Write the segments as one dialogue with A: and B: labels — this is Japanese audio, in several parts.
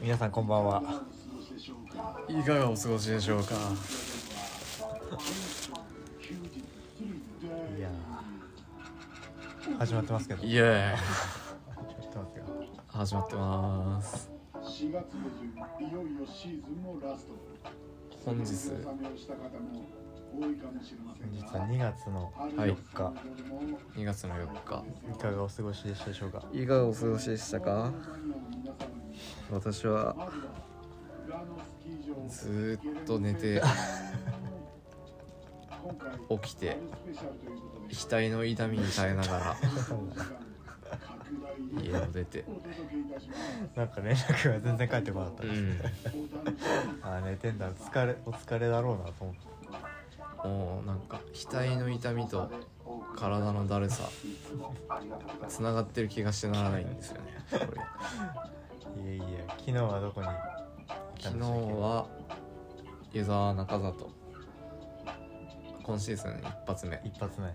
A: 皆さんこんばんはい
B: かがお過ごしでしょうか
A: いやー始まってますけど
B: イエーイ
A: 始まってますよ
B: 始まってます
C: 4月下旬いよいよシーズンもラスト
B: 本日
C: お納めをした方も多いかもしれません
A: 本日
C: が
A: は2月の
B: はい
A: 4日、
B: 2月の4日
A: い、かがお過ごしでしたでしょうか
B: いかがお過ごしでしたか私はずーっと寝て起きて額の痛みに耐えながら家を出て
A: なんか連絡が全然返ってこなかった
B: う
A: です、
B: ん
A: ああ寝てんだ疲れお疲れだろうなと思って
B: もうなんか額の痛みと体のだるさつながってる気がしてならないんですよねこれ
A: いやいや昨日はどこに
B: 昨日は湯沢中里今シーズン一発目
A: 一発目
B: う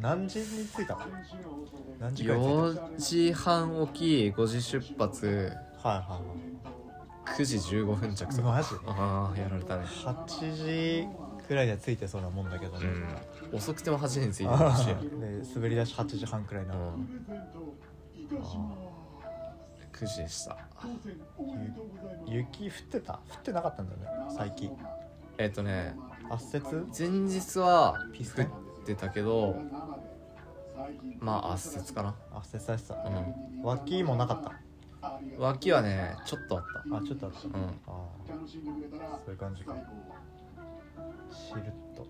A: 何時に着いたの何
B: ん
A: 時から着い
B: 4時半起き5時出発
A: たはいはい
B: 9時15分着
A: はい
B: と
A: マジ
B: ああやられたね
A: 8時くらいには着いてそうなもんだけど
B: う
A: ね、
B: ん遅くても8時に着いて
A: あ
B: る し
A: ーで滑り出し8時半くらいな
B: う
A: の、
B: ん9時でした
A: 雪降ってた降ってなかったんだね最近
B: えっとね
A: 圧雪
B: 前日は
A: ピスケ
B: 降ってたけどまあ圧雪かな
A: 圧雪さしてた、
B: う
A: 脇もなかった
B: ん脇はねちょっとあった
A: あちょっとあった、
B: うん
A: ああそういう感じかしるっと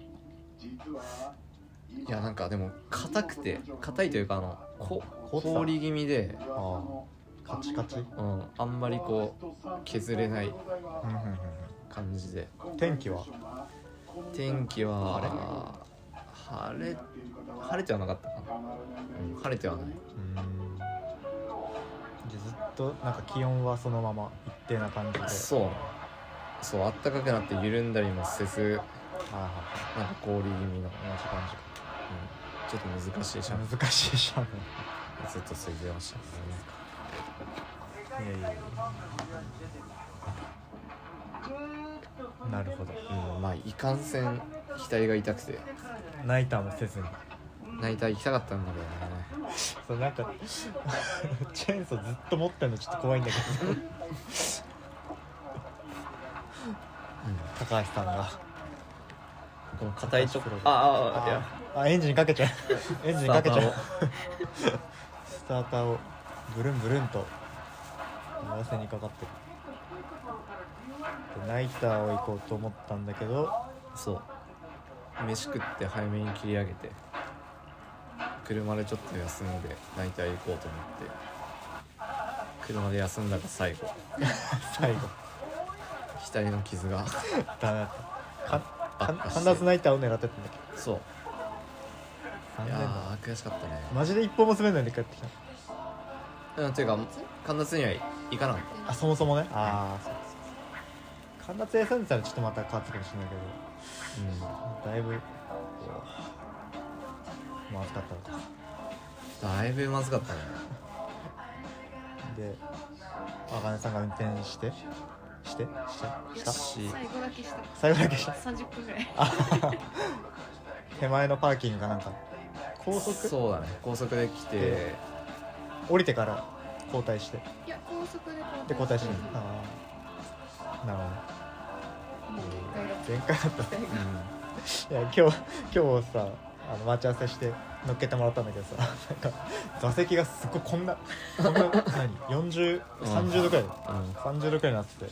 B: いやなんかでも硬くて硬いというかあのこ
A: 凍ってた
B: 氷気味で、
A: ああカチカチ、うん
B: うん、あんまりこう削れない
A: うんうん
B: 感じで
A: うん、天気は
B: 天気は晴れ晴れてはなかったかな、うん、晴れてはないう
A: ーんじゃあずっとなんか気温はそのまま一定な感じで
B: そうそうあったかくなって緩んだりもせず
A: はいはい
B: なんか氷気味の、うん、
A: 同じ感じか
B: ちょっと難しいシャン
A: 難しいじゃん
B: ずっとついてましたね
A: いやいやいやなるほど
B: うんまあいかんせん額が痛くて
A: ナイターもせずに
B: 泣いた行きたかったんだけどね
A: そうなんか チェーンソーずっと持ってんのちょっと怖いんだけど高橋さんが
B: この硬いところ
A: あ
B: あああいや
A: ああエンジンか けちゃうエンジンかけちゃうスターターをブルンブルンと合わせにかかってるでナイターを行こうと思ったんだけど
B: そう飯食って早めに切り上げて車でちょっと休んでナイター行こうと思って車で休んだら最後
A: 最後
B: 額の傷が
A: ダメだったか
B: 悪
A: か
B: 化して
A: 神田津ナイターを狙ってったんだっけ
B: そう
A: 残
B: い
A: 念
B: や
A: だ
B: ー悔しかったね
A: マジで一歩も滑んないで帰ってきた
B: うんていうか神田津には行かなかっ
A: あそもそもねああそうそうそう神田津休んでたらちょっとまた変わってたかもしれないけ
B: た、
A: どだいぶこうまずかったのか
B: うん、だいぶまずかったね
A: で茜さんが運転してしてしてした
B: し
D: 最後だけした
A: 最後だけした
D: 30分ぐらい
A: 手前のパーキングかなんか高速
B: そうだね高速で来て
A: 降りてから交代して
D: いや高速で
A: で交代して
D: る
A: るああなるほど前回だった
B: う
A: いや
B: ん
A: 今日今日さあの待ち合わせして乗っけてもらったんだけどさなんか座席がすっごいこんなこんな何4030度くらい、
B: うん
A: 30度くらいになってて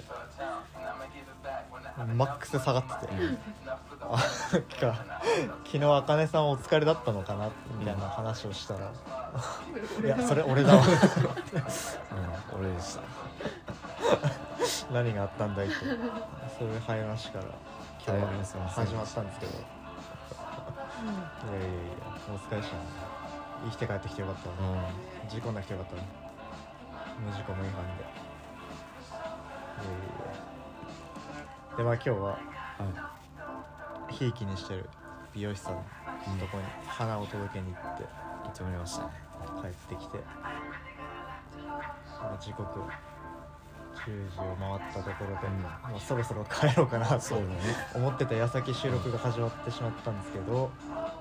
A: マックスで下がってて、
B: うん
A: あなんか昨日あかねさんお疲れだったのかなみたいな話をしたら、いやそれ俺だわ
B: うん、俺でした
A: 何があったんだいってそういう話から今
B: 大変
A: 日
B: すい
A: は
B: ません
A: 始まったんですけどいやいやいやお疲れっしたね生きて帰ってきてよかったわ
B: う、ん
A: 事故なくてよかったね無事故無違反でえーでまあ今日は
B: は
A: ひいきにしてる美容師さんのとこに花を届けに行って
B: い行ってまいりましたね
A: 帰ってきて、まあ、時刻90を回ったところで、
B: うん
A: まあ、そろそろ帰ろうかなと
B: そうだね
A: 思ってた矢先収録が始まってしまったんですけど、ま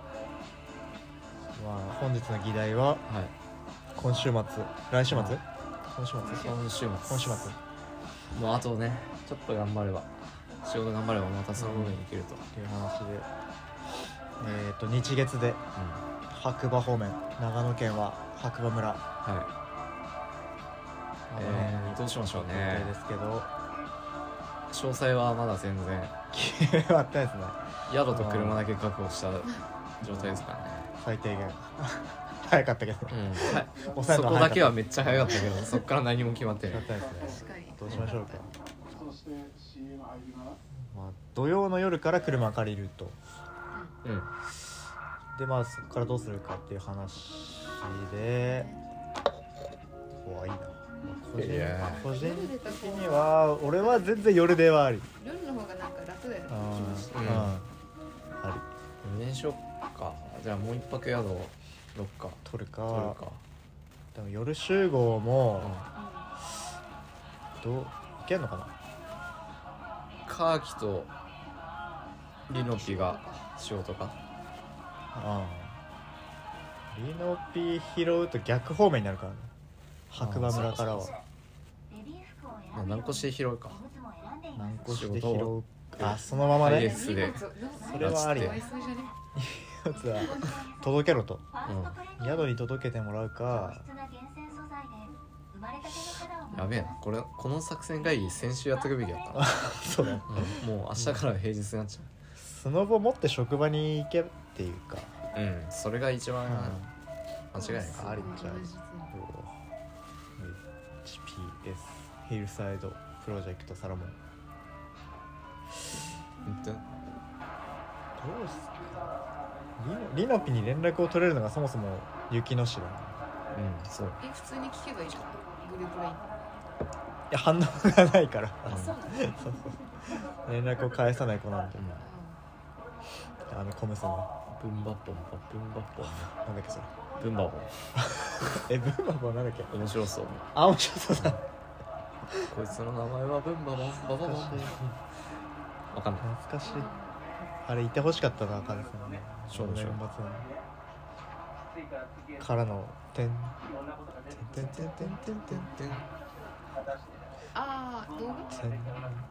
A: あ本日の議題は
B: はい
A: 今週末来週末、
B: はい
A: 今週末
B: 今週末
A: 今週末
B: もうあとねちょっと頑張れば仕事頑張ればまたその方に行けると、
A: という話でえっ、と日月で
B: うん
A: 白馬方面長野県は白馬村
B: は
A: あ
B: い、
A: の
B: え
A: 辺に
B: ー、どうしましょう
A: 予
B: ね
A: 定ですけど
B: 詳細はまだ全然
A: 決まったですね
B: 宿と車だけ確保した状態ですからね
A: 最低限 早かったけど、
B: うんはい
A: 抑え
B: そ
A: るの
B: こ
A: 早かった
B: だけはめっちゃ早かったけどそこから何も決まって
A: 決
B: な
A: まっ
B: い
A: たですね
D: 確かに
A: どうしましょうか、
C: そして CM 入ります
A: まあ、土曜の夜から車借りると
B: うん
A: でまあそこからどうするかっていう話で怖いな、まあ個人
B: いや
A: 個人的には俺は全然夜ではあり
D: 夜の方がなんか楽だよね
A: うん
D: 気持ち
A: うん
B: うん
A: あり
B: 無年書かじゃあもう一泊宿をどっか
A: 取る
B: 取る
A: か
B: か
A: でも夜集合
B: うん
A: もどういけんのかな
B: カーキとリノピ
D: と
B: が
D: か
B: しようとか
A: うんリノピ拾うと逆方面になるからね白馬村からは
B: まあ何個して拾うか
A: 何個して
B: 仕事
A: 拾
B: を
A: うあそのまま
B: ハイ エ
A: ね
B: ースで
D: 荷
A: そ
D: 物
A: れはあり
D: かわいそうじゃね
A: やつは届けろと
B: う
A: 宿に届けてもらうか
B: やべえなこれこの作戦会議先週やっとくべきだったな
A: そうだね
B: うんもう明日から平日になっち
A: スノボ持って職場に行けっていうか、
B: ゃううんそれが一番
A: うん
B: 間違いない
A: ありちゃう
D: 同じだね
A: HPS ヒルサイドプロジェクトサラモン
B: 本当
A: ど
B: に
A: うすかリノリノピに連絡を取れるのがそもそも雪の市だな
B: うんそう
D: え普通に聞けばいいじゃんグループライン
A: いや反応がないから
D: あそうなのうん
A: そうそう連絡を返さない子なんで
B: う
A: あのコムソンが
B: んブンバッポンバブンバッポン
A: なんだっけそれ
B: ブンバボ
A: えブーバボンなんだっけ
B: ン面白そう
A: あ面白そうだ
B: こいつの名前はブンバボンババボンわかんない
A: 懐かしいあれいてほしかったな彼さんね
B: そうでし
A: 年
B: ょ
A: 末なのからの「てんてんてんてんてんてんてんてん
D: ああ動画
A: てんてんてん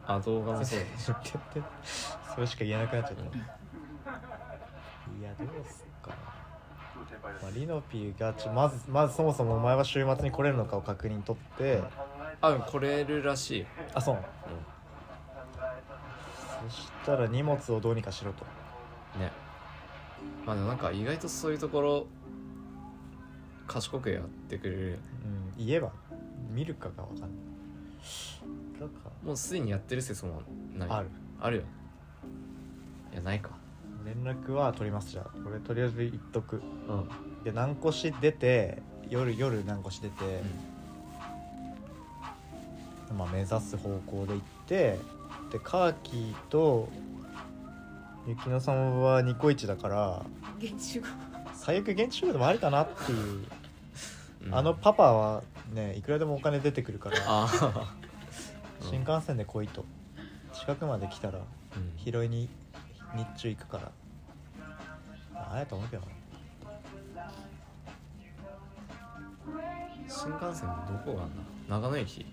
B: あ動画もそうだ
A: てん」 それしか言えなくなっちゃったいやどうすっかな、まあ、リノピーがちょまずまずそもそもお前は週末に来れるのかを確認取って
B: あうん来れるらしい
A: あそうそしたら荷物をどうにかしろと
B: うんねまあでもなんか意外とそういうところ賢くやってくれるよね
A: うん言えば見るかがわかんないだか
B: もうすでにやってる説もない
A: らある
B: あるよいやないか
A: 連絡は取りますじゃあこれとりあえず言っとく
B: うん
A: で南越し出て夜夜南越し出て、まあ、目指す方向で行ってでカーキーと雪乃さんはニコイチだから
D: 現地集合
A: 最悪現地集合でもありかなっていう、
B: うん
A: あの パパはねいくらでもお金出てくるから
B: あー
A: 新幹線で来いと近くまで来たら
B: うん
A: 拾いに日中行くからああやと思うけどな
B: 新幹線のどこがあんな長野駅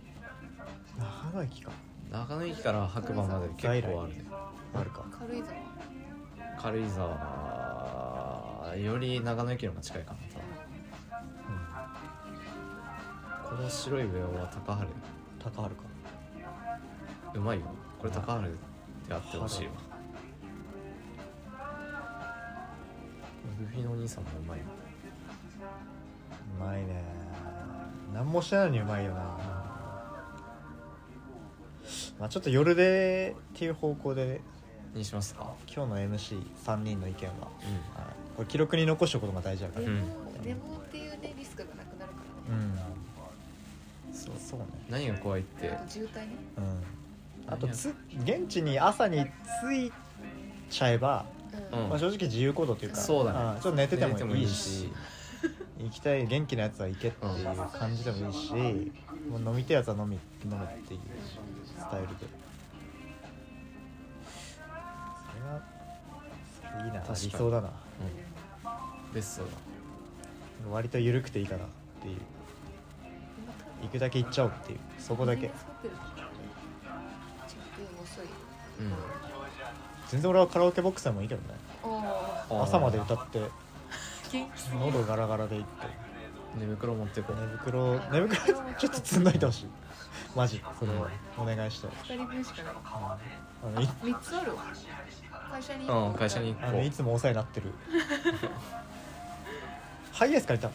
A: 長野駅か
B: 長野駅から白馬まで結構あるね
A: あるか
D: 軽井沢
B: 軽井沢より長野駅の方が近いかな多分この白い上は高原
A: 高原か
B: うまいよこれ高原であってほしいわグフィのお兄さんもうまいよ
A: うまいね何もしてないのにうまいよなまあちょっと夜でっていう方向で
B: にしますか
A: 今日の MC3 人の意見は、
B: う
A: はい、これ記録に残しておくことが大事だから
D: 寝
A: うん、
D: 坊寝坊っていうねリスクがなくなるからね
A: そうそうね
B: 何が怖いって
D: あと渋滞ね
A: うんあとつ現地に朝に着いちゃえば、
D: う
B: うんん
A: まあ、正直自由行動っていうか
B: そうだね
A: んちょっと寝てて
B: 寝
A: もいいし
B: ても
A: 行きたい元気なやつは行けっていう感じでもいいし、
C: うん
A: もう飲みたいやつは飲み飲むっていうスタイルでそれがそれいいな
B: 確かに
A: 理想だな
B: ベストだ
A: 割と緩くていいかなっていう
D: 今多分
A: 行くだけ行っちゃおうっていうそこだけ
D: 水に作ってる時ってちょっと遅い
B: うん
A: 全然俺はカラオケボックスでもいいけどね
D: あ
B: あー
A: 朝まで歌って
D: あ元気すぎ
A: 喉ガラガラで行って
B: 寝袋持ってこ
A: 寝
B: う
A: 袋寝袋ちょっと積んどいてほしいマジそれはお願いしたい
D: 2人分しかない
A: あのい
D: 3つあるわ会社に
B: うん会社に
A: あのいつもお世話になって るハイエース借りたの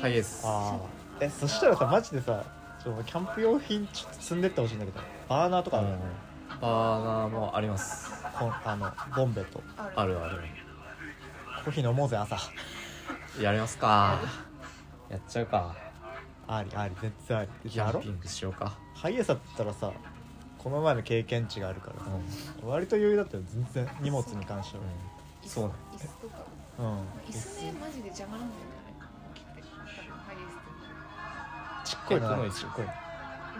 B: ハイエース
A: ああえそしたらさマジでさちょっとキャンプ用品ちょっと積んでってほしいんだけどバーナーとかあるよね、
B: バーナーもあります
A: こんあのボンベと
D: ある
B: あるある
A: コーヒー飲もうぜ朝
B: やりますかやっちゃうか
A: ありあり絶対あり
B: キ
A: や
B: ャ
A: ろ
B: ンピングしようか
A: ハイエースだったらさこの前の経験値があるから
B: う
A: さ
B: ん、うん、
A: 割と余裕だったよ全然荷物に関しては
D: 椅子
B: そうね
D: 椅子とか
A: うん
D: 椅子ねマジで邪魔なんだよね切って多分ハイエースっ
A: ちっこい
B: えこ
A: の
B: の
A: ある
B: 一
A: ちっこいの
D: て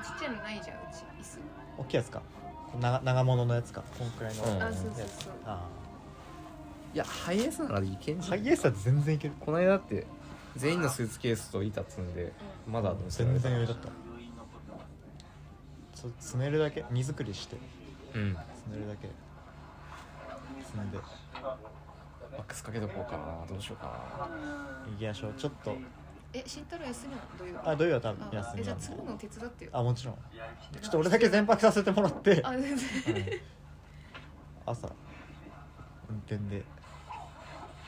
D: ちっちゃいのないじゃんうち椅子
A: 大きいやつか長長物のやつかこんくらいの
B: うん
A: や
D: あ
A: つ
D: そうそうそう
A: あ
B: いやハイエースならいけん
A: ー
B: じ
A: ハ
B: ゃん
A: イエースだって全然いける
B: この間だって全員のスーツケースと板積んでまだ乗せら
A: 全
B: れた
A: 然余裕だったちょ詰めるだけ荷造りして
B: うんマ
A: それだけ積んで
B: ックスかけとこうかなどうしようか
A: 行きましょうちょっと
D: え慎太郎休みなの土曜
A: あ土曜は多分
D: あ
A: 休
D: え
A: み
D: じ
A: な
D: ゃあ
A: んで
D: 積むの手伝ってよ
A: あもちろんちょっと俺だけ全泊させてもらって
D: あ全然
A: 朝運転で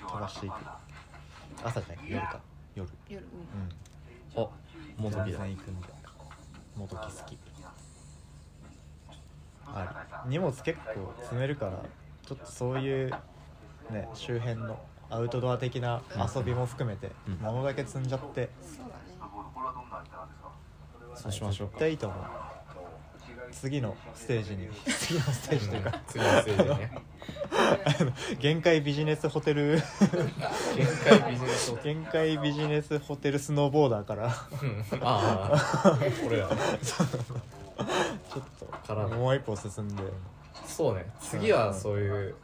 A: 飛ばしていく朝じゃない夜か夜
D: 夜う
A: う
D: ん
B: なあ
A: ん
B: もどき
A: 全
B: だ
A: 然行くんでもどき好きあ荷物結構積めるからちょっとそういうね周辺のアウトドア的な遊びも含めて
B: うん
A: 物だけ積んじゃって
D: そうだね
B: そうしましょうか
A: 絶対いいと思う次のステージに次のステージというか
B: 次のステージね
A: 限界ビジネスホテル
B: 限界ビジネスを
A: 限界ビジネスホテルスノーボーダーから
B: ああ俺ら
A: ちょっ
B: から
A: ともう一歩進んで
B: そうね次はそういう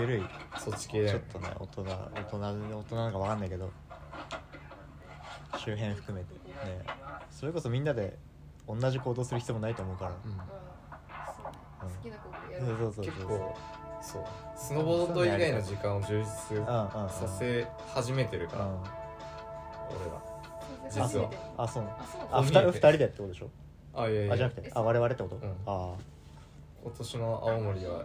A: ゆるい
B: そっち系だ
A: ちょっ
B: よ
A: とね大人大人大人なんかわかんないけど周辺含めてねそれこそみんなで同じ行動する必要もないと思うから、
B: うん
D: うんそう
A: うん
D: ね好きなことや
A: そう
D: る
A: そうそうそう
B: 結構そうスノボード以外の時間を充実
A: うんうんうん
B: させ始めてるから
A: うん
B: 俺ら
D: 全然初めて
A: あそう
D: あそう
A: あ
B: こう
A: 二
B: 見え
A: 人
B: て
A: 二人でってことでしょ
B: あいやいや
A: あじゃなくてあ我々ってこと、
B: うん
A: あ
B: 今年の青森はいい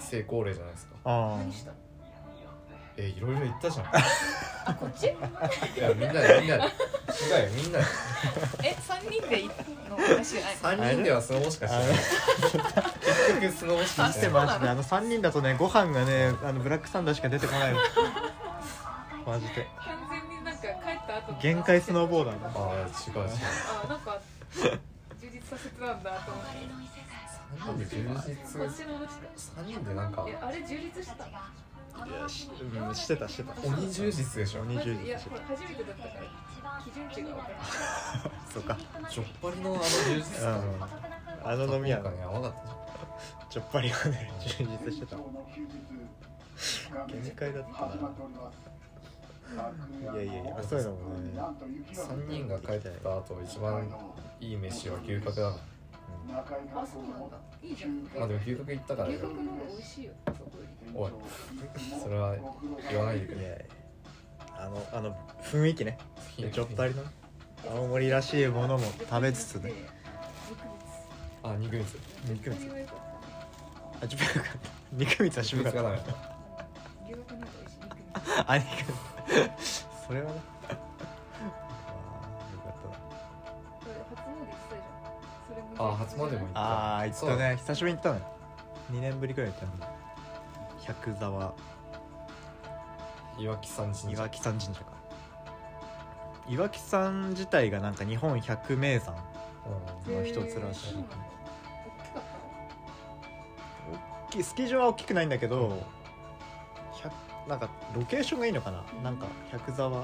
B: 成功例じゃないですか
A: ああ
D: 何した
B: えいろいろ言ったじゃん
D: あこっちえ
B: いやみんなでみんなで違うよみんなで
D: 三人で行ったの話じゃない
B: 3人ではスノボしかしてない結局スノボしか
A: マ
B: し
A: ジ
B: て
A: で
B: ない
A: マジであの3人だとねご飯がねあのブラックサンダーしか出てこないのマジで
D: 完全になんか帰った後の
A: 限界スノーボーダーだ
B: あー違う違う
D: あなんか充実させてたんだと思って
B: 3人で充
D: こっ
B: 実
D: ち戻した
B: 3人でなんか
D: いやあれ充実してた
A: いやし,、うん、してたしてた
B: 鬼充実でしょ
A: 鬼
D: ま
A: 充
D: ず
A: 実
D: いや
A: して
D: ほら初めてだったから基準値が分からない
A: た そうか
B: ちょっぱりのあの充実
A: う
B: 感
A: んあの飲み屋
B: なん
A: の
B: かね甘かったじゃん
A: ちょっぱりはね充実してた限界だったないやいやいやそういうのもね
B: 3人が帰った後一番いい飯は牛角だな
D: あそうなんだいいじゃん
B: まあでも牛角行ったから
D: 牛
B: よ
D: 角の方が美味しいよそこより
B: おいそれは言わないで
A: い
B: く
A: や
B: れ
A: いやあのあの雰囲気ねちょっぱりの青森らしいものも食べつつね
B: あ肉蜜
A: 肉
D: 肉
A: 蜜
D: 蜜
A: あ自分よかった肉蜜は渋かっ
B: 肉蜜が
A: た
B: ダメ
D: 牛角の方が美味しい肉蜜
A: あ肉蜜それはねあーよかったな
D: これ初詣行ってたじゃんそれも
B: あ初詣も行った
A: ああ行っ
B: そう
A: たね久しぶりに行ったね2年ぶりくらい行ったの百沢
B: 岩木さん神社
A: 岩木山神社か岩木山自体がなんか日本百名山
B: う
A: の一つらしい
D: へーそうなんだ大きかった
A: き
D: の
A: スキー場は大きくないんだけど百なんかロケーションがいいのかななんか百沢
B: ん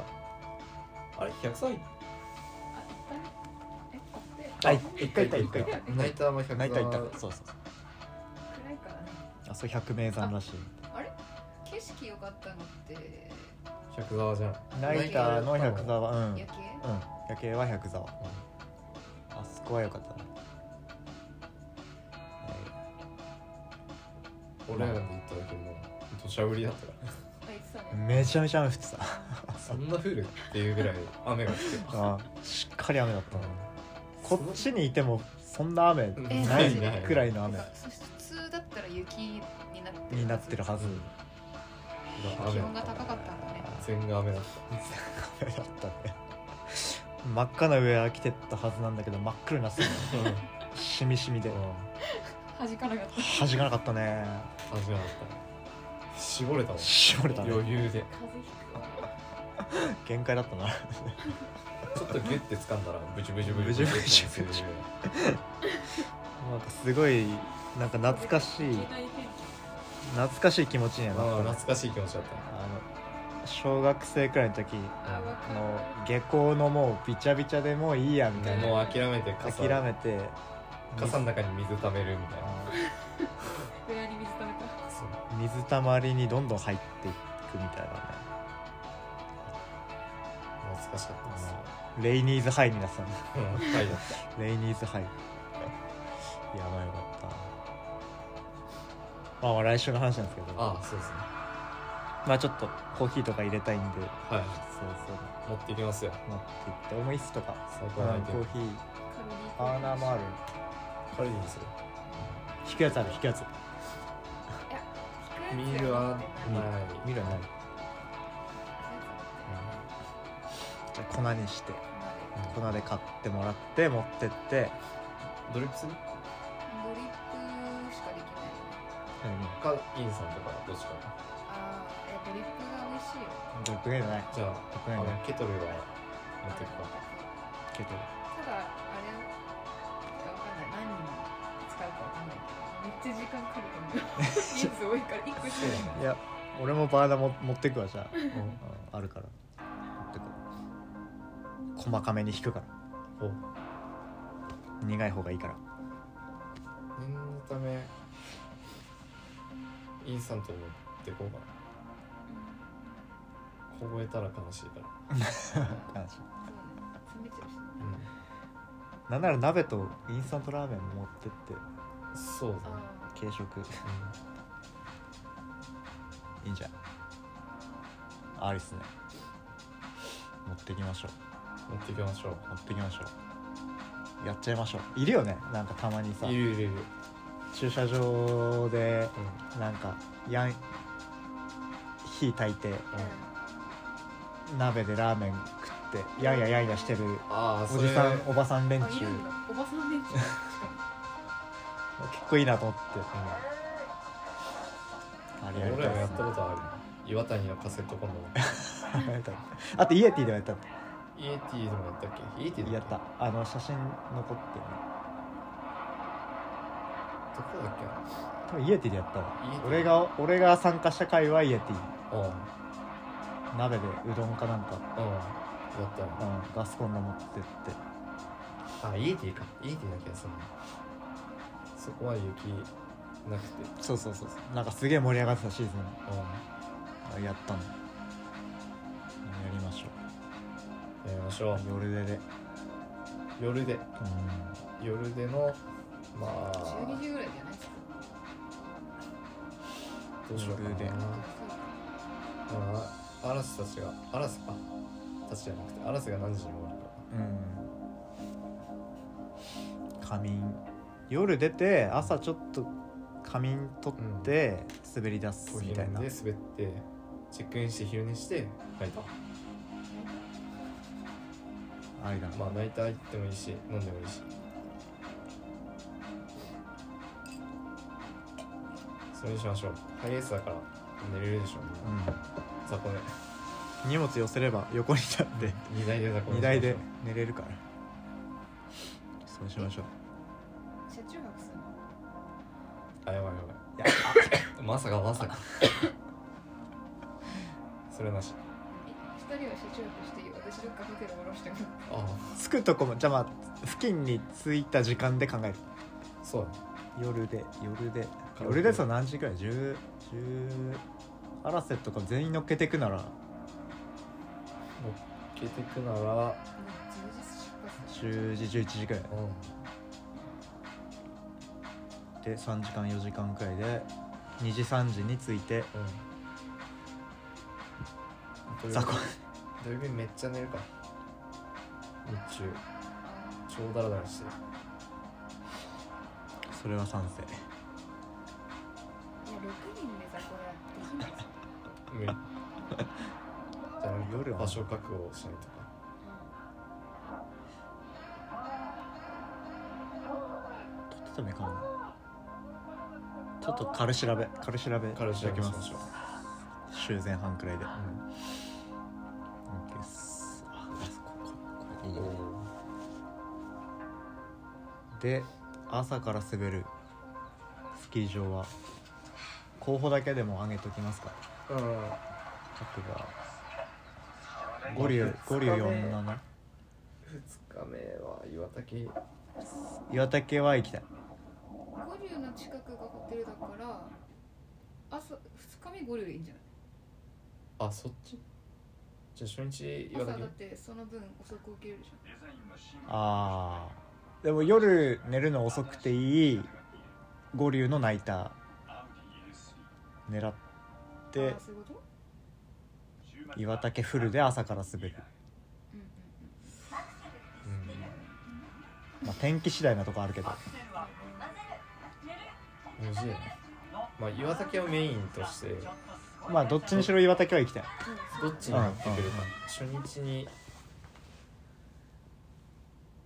B: あれ100歳
D: あえこうで
A: あい一回行った一回行った
B: ナイターも100
A: 泣いたいた
B: は
A: そうそうそう
D: 暗いからね
A: あそれ百名山らし
D: あれ景色良かったのって
B: 百沢じゃん
A: いナイターの百沢うんうん
D: 夜景
A: 夜景は百沢あそこは良かったな
B: 俺らで行った時も土砂降りだったから
D: あいつだね
A: めちゃめちゃ雨降って た
B: そんな降るっていうぐらい雨が降ってた
A: あしっかり雨だったなこっちにいてもそんな雨
B: うん
D: え ー
A: ない
D: マジ
A: くらいの雨
D: そして普通だったら雪になってる
A: になってるはず
B: 雨
D: 気
B: だ
D: 温が
B: った
D: 高かったんだね
B: 全が雨だっ
A: 雨だったね 真っ赤なウェア着てったはずなんだけど真っ黒になってた
B: たうん
A: しみしみで
D: 端からがった
A: 弾かなかったね
B: 感じなかった絞れたもん
A: 絞れたね
B: 余裕で
D: 風邪ひくわ
A: 限界だったな
B: ちょっとギュッて掴んだらブチブチブチ
A: ブチブチブチブチなんかすごいなんか懐かしい懐かしい気持ちには
B: まあ
A: なったね
B: 懐かしい気持ちだった
A: あの小学生くらいの時
D: あわか
A: の下校のもうびちゃびちゃでもういいやみたいな
B: もう諦めて傘
A: 諦めて
B: 傘の中に水溜めるみたいな
D: るウェアに水溜めた
B: そう
A: 水たまりにどんどん入っていくみたいなね
B: 懐かしかったです
A: レイニーズハイになってたね
B: うんはいだっ
A: レイニーズハイやばいよかったまあまあ来週の話なんですけど
B: たああそうですね
A: まあちょっとコーヒーとか入れたいんで
B: は
A: そうそう
B: い持ってきますよ
A: 持って行ってオムイスとか、
B: 最
A: う
B: 高
A: ん
B: のアイテ
A: コ
B: ム
A: ーヒー
D: カロリ
A: バ
D: ー
A: ーナーもある
B: カルディにする
A: 引くやつある引くやつ
D: 低いやつ
B: ミールは
D: うん
B: ない
A: 見るないじゃあ粉にして粉で買ってもらって持ってって
B: ドリップする
D: ドリップしかできない
B: かインさんとかどっちか
D: あーえドリップが美味しいよ
A: ドリップゲーじゃない
B: じゃ
A: ドリップ
B: あ
A: ゲ
B: あ
A: ーじゃ
B: の
A: ない
B: ケトルは持ってくか
A: けど
D: ただあれがわかんない何に使うかわかんないけどめっちゃ時間かかると思 う人数多いから一個しかない
A: いや俺もバーナーも持ってくわじゃあ、
B: うん
A: うんあるから持ってく細かめに引くから
B: お
A: 苦い方が いいから
B: 念のためインスタントに持ってこうかな凍えたら悲しいから、
A: 感じ
D: そうね冷めちゃうし
A: なんなら鍋とインスタントラーメン持ってって
B: そうだね、
D: あ
A: 軽食いいんじゃないありっすね持ってきましょう
B: 持ってきましょ
A: 持ってきましょうやっちゃいましょういるよねなんかたまにさ
B: ういるいるいる、
A: 駐車場でなんかやん火炊いて
D: ーうん
A: 鍋でラーメン食ってやんややんやしてる
B: ああそ
A: お
B: れ
A: じさんおばさん連
D: あ
A: 中
D: いるんだおばさんねしか
A: 結構いいなと思ってあれやり
B: 俺
A: た
B: ら
A: い
B: もや
A: っ
B: っ
A: す
B: たことある岩谷のカセットコンロ
A: ねあとイエティでもやったの
B: イエティでもやったっけイエティ
A: や
B: だ
A: っ
B: け
A: たあの写真残ってるね
B: どこだっけな
A: 多分イエティでやったわ
B: イエティ
A: 俺が俺が参加した回はイエティ
B: うんうん
A: 鍋でうどんかなんか、
B: やった
A: う
B: よ
A: ん、ガスコンロ持ってって
B: あイエティかイエティだけどそのそこは雪なくて
A: そうそうそうそうなんかすげえ盛り上がってたシーズン
B: う
A: あやったのやりましょ
B: んやりましょう
A: う夜ででうん
B: 夜で夜でのま
D: ない
B: あ
D: 12時ぐらいじゃないですか
B: どうしようかな
A: 夜で
B: まあ嵐たちが嵐かたちじゃなくて嵐が何時に終わるか
A: うん仮眠夜出て朝ちょっと仮眠取って滑り出すみたいな、
B: で滑ってチェックインして昼寝してナイター
A: ありだな
B: まあナイター行ってもいいし飲んでもいいしそれにしましょうハイエースだから寝れるでしょみんな雑魚
A: うん、荷物寄せれば横に立って
B: 寝荷台で雑魚寝
A: 荷台で寝れるからそうしましょう
D: 車中泊するの
B: あやばいやばいあまさか まさかそれなし
D: え二人は車中泊していいよ私どっかホテル降ろしてもら
B: ああ
A: 着くとこもじゃあまあ付近に着いた時間で考える
B: そうだね
A: 夜で夜で
B: カラオケ
A: 夜ですと何時くらい1010アラセとか全員乗っけてくなら
B: 乗っけてくなら
D: うもう10時
A: 10時
D: 出発だし
A: 11時くらい
B: うん
A: で3時間4時間くらいで2時3時に着いて
B: うん
A: 雑魚
B: 土曜日めっちゃ寝るか日中超ダラダラして
A: それは賛成
D: いや6人で雑魚やっていいんですよ
B: 無理じゃあ
A: 夜は
B: 場所確保しないとか
A: 取っててもいいかなちょっと軽調べ軽調べ
B: 彼氏だけしましょう、
A: 週前半くらいで
B: うん、
A: OK っすあこここいい
B: お
A: ね
B: お
A: で朝から滑るスキー場は候補だけでも上げときますか
B: う
A: 各が五竜五竜四七
B: ん2日目は岩竹
A: 岩竹は行きたい
D: 五竜の近くがホテルだから朝2日目五竜でいいんじゃない
B: あそっちじゃあ初日岩
D: 朝
B: 竹
D: だってその分遅く起きれるじゃ
A: あーでも夜寝るの遅くていい五竜のナイター狙っ
D: ん
A: て
D: あそういうこと
A: 岩竹フルで朝から滑る、
D: うんうん
B: うん
A: まあ、天気次第なとこあるけど
B: むずいねまあ岩竹をメインとして
A: まあどっちにしろ岩竹は行きたい
B: どっちになってくる
A: うんうん
B: か初日に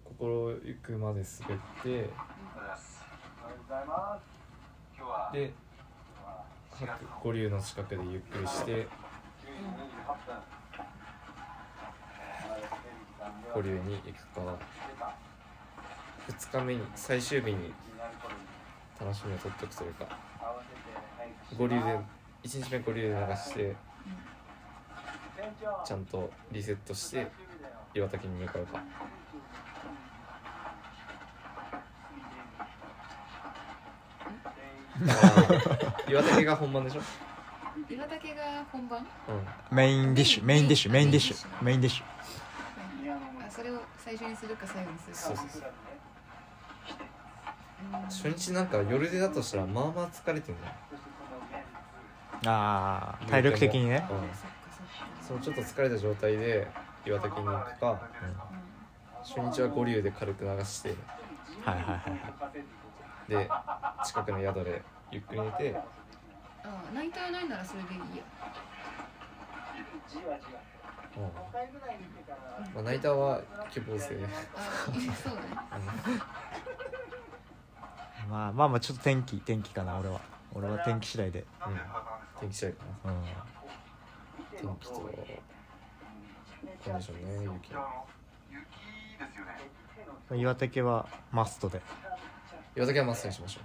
B: 心ゆくまで滑ってで白五竜の近くでゆっくりして五竜に行くか2日目に最終日に楽しみを取っておくというか五竜で1日目五竜で流してちゃんとリセットして岩竹に向かう かあー岩竹が本番でしょ
D: うん岩竹が本番
B: うん
A: メインディッシュメインディッシュメインディッシュメインディッシュ
D: あそれを最初にするか最後にするか
B: そうそうそう
D: うん
B: 初日なんか夜出だとしたらまあまあ疲れてるんだよ
A: ああ体力的にね
D: あ
B: うん
D: そっかそっか
B: そのちょっと疲れた状態で岩竹に行くか
D: うん
B: 初日は五竜で軽く流して
A: はいはいはいはい
B: で近くの宿でゆっくり寝て
D: あナイターないならそれでいいや
B: うんまあ、ナイターは希望性
D: あ そうね
A: まあまあまあちょっと天気天気かな俺は俺は天気次第で
B: うん 天気次第かな
A: うん
B: 天気とコンディションね雪
A: 岩竹はマストで
B: 岩竹はマストにしましょう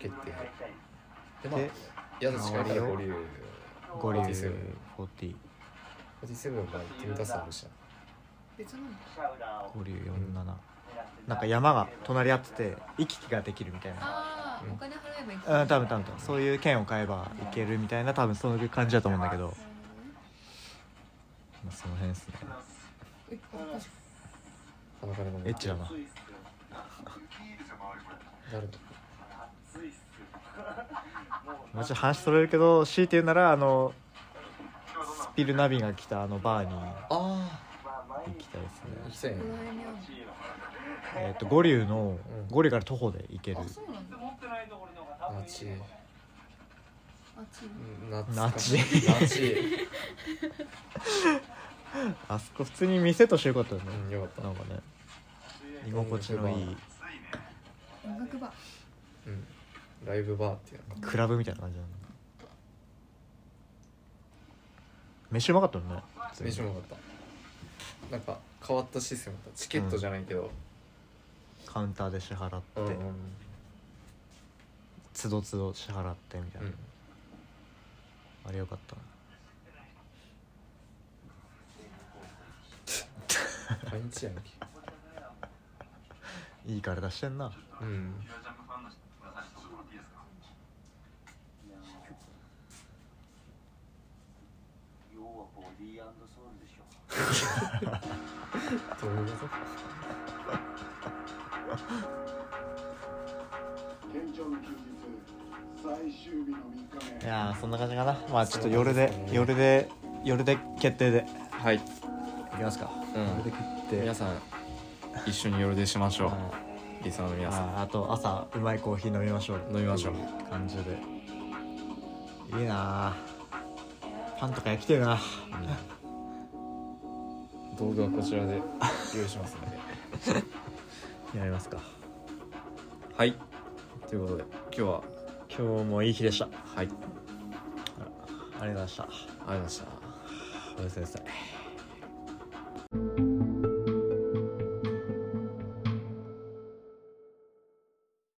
B: 決定でまあ
A: で
B: 宿近いから五竜
A: 五竜
B: 47
A: 40
B: 47もまあ行ってみたさもし
D: 別なんだ
A: 五竜47なんか山が隣り合ってて行き来ができるみたいな
D: ああ、
B: うん
D: お金払えばいいか
A: うん多分多分多分そういう券を買えば行けるみたいな多分そういう感じだと思うんだけど、
D: なるほどね
A: まあ、その辺ですね
D: え恥ずかしい
B: なかなか
A: エ
B: ね
A: ッチだな
B: 誰だ
A: もちろん話それるけど強いて言うならあのスピルナビが来たあのバーに
B: あ
A: 行きたいです
B: あ行
A: ね
B: きたいね
D: この辺にある
A: えっ、と五竜の
B: うん
A: 五竜から徒歩で行ける
D: のあそうなんだ
B: ナチ
D: あっち
B: ナチ ナチ
A: あそこ普通に店としてよかったよね
B: うんよかった
A: なんかね居心地のいい
D: 音楽バー
B: うんライブバーっていうの
A: クラブみたいな感じなんだ飯うまかったよね普通に
B: 飯もよかったなんか変わったシステムだったチケットじゃないけど
A: カウンターで支払って、
B: うんうん
A: つどつど支払ってみたいな、あれよかったな
B: 毎日やんけ
A: いい体してんな
B: うん
E: 要はボディーソウルでしょ
B: どういうこ
C: 県庁の休日最終日の3日目
A: いやーそんな感じかなまあちょっと夜で夜で夜で決定で
B: とはい
A: いきますか、
B: うん
A: 夜で決定
B: 皆さん一緒に夜出しましょ
A: は
B: うリスナーの
A: い
B: 皆さん
A: あーあと朝うまいコーヒー飲みましょう
B: 飲みましょう
A: 感じでいいなあパンとか焼きてえな
B: 道具はこちらで用意しますので
A: やりますか
B: はいということで今日は
A: 今日もいい日でしたあ
B: はいありがと
A: りがとうござ
B: う
A: いました
B: ございました
A: おやすみなさい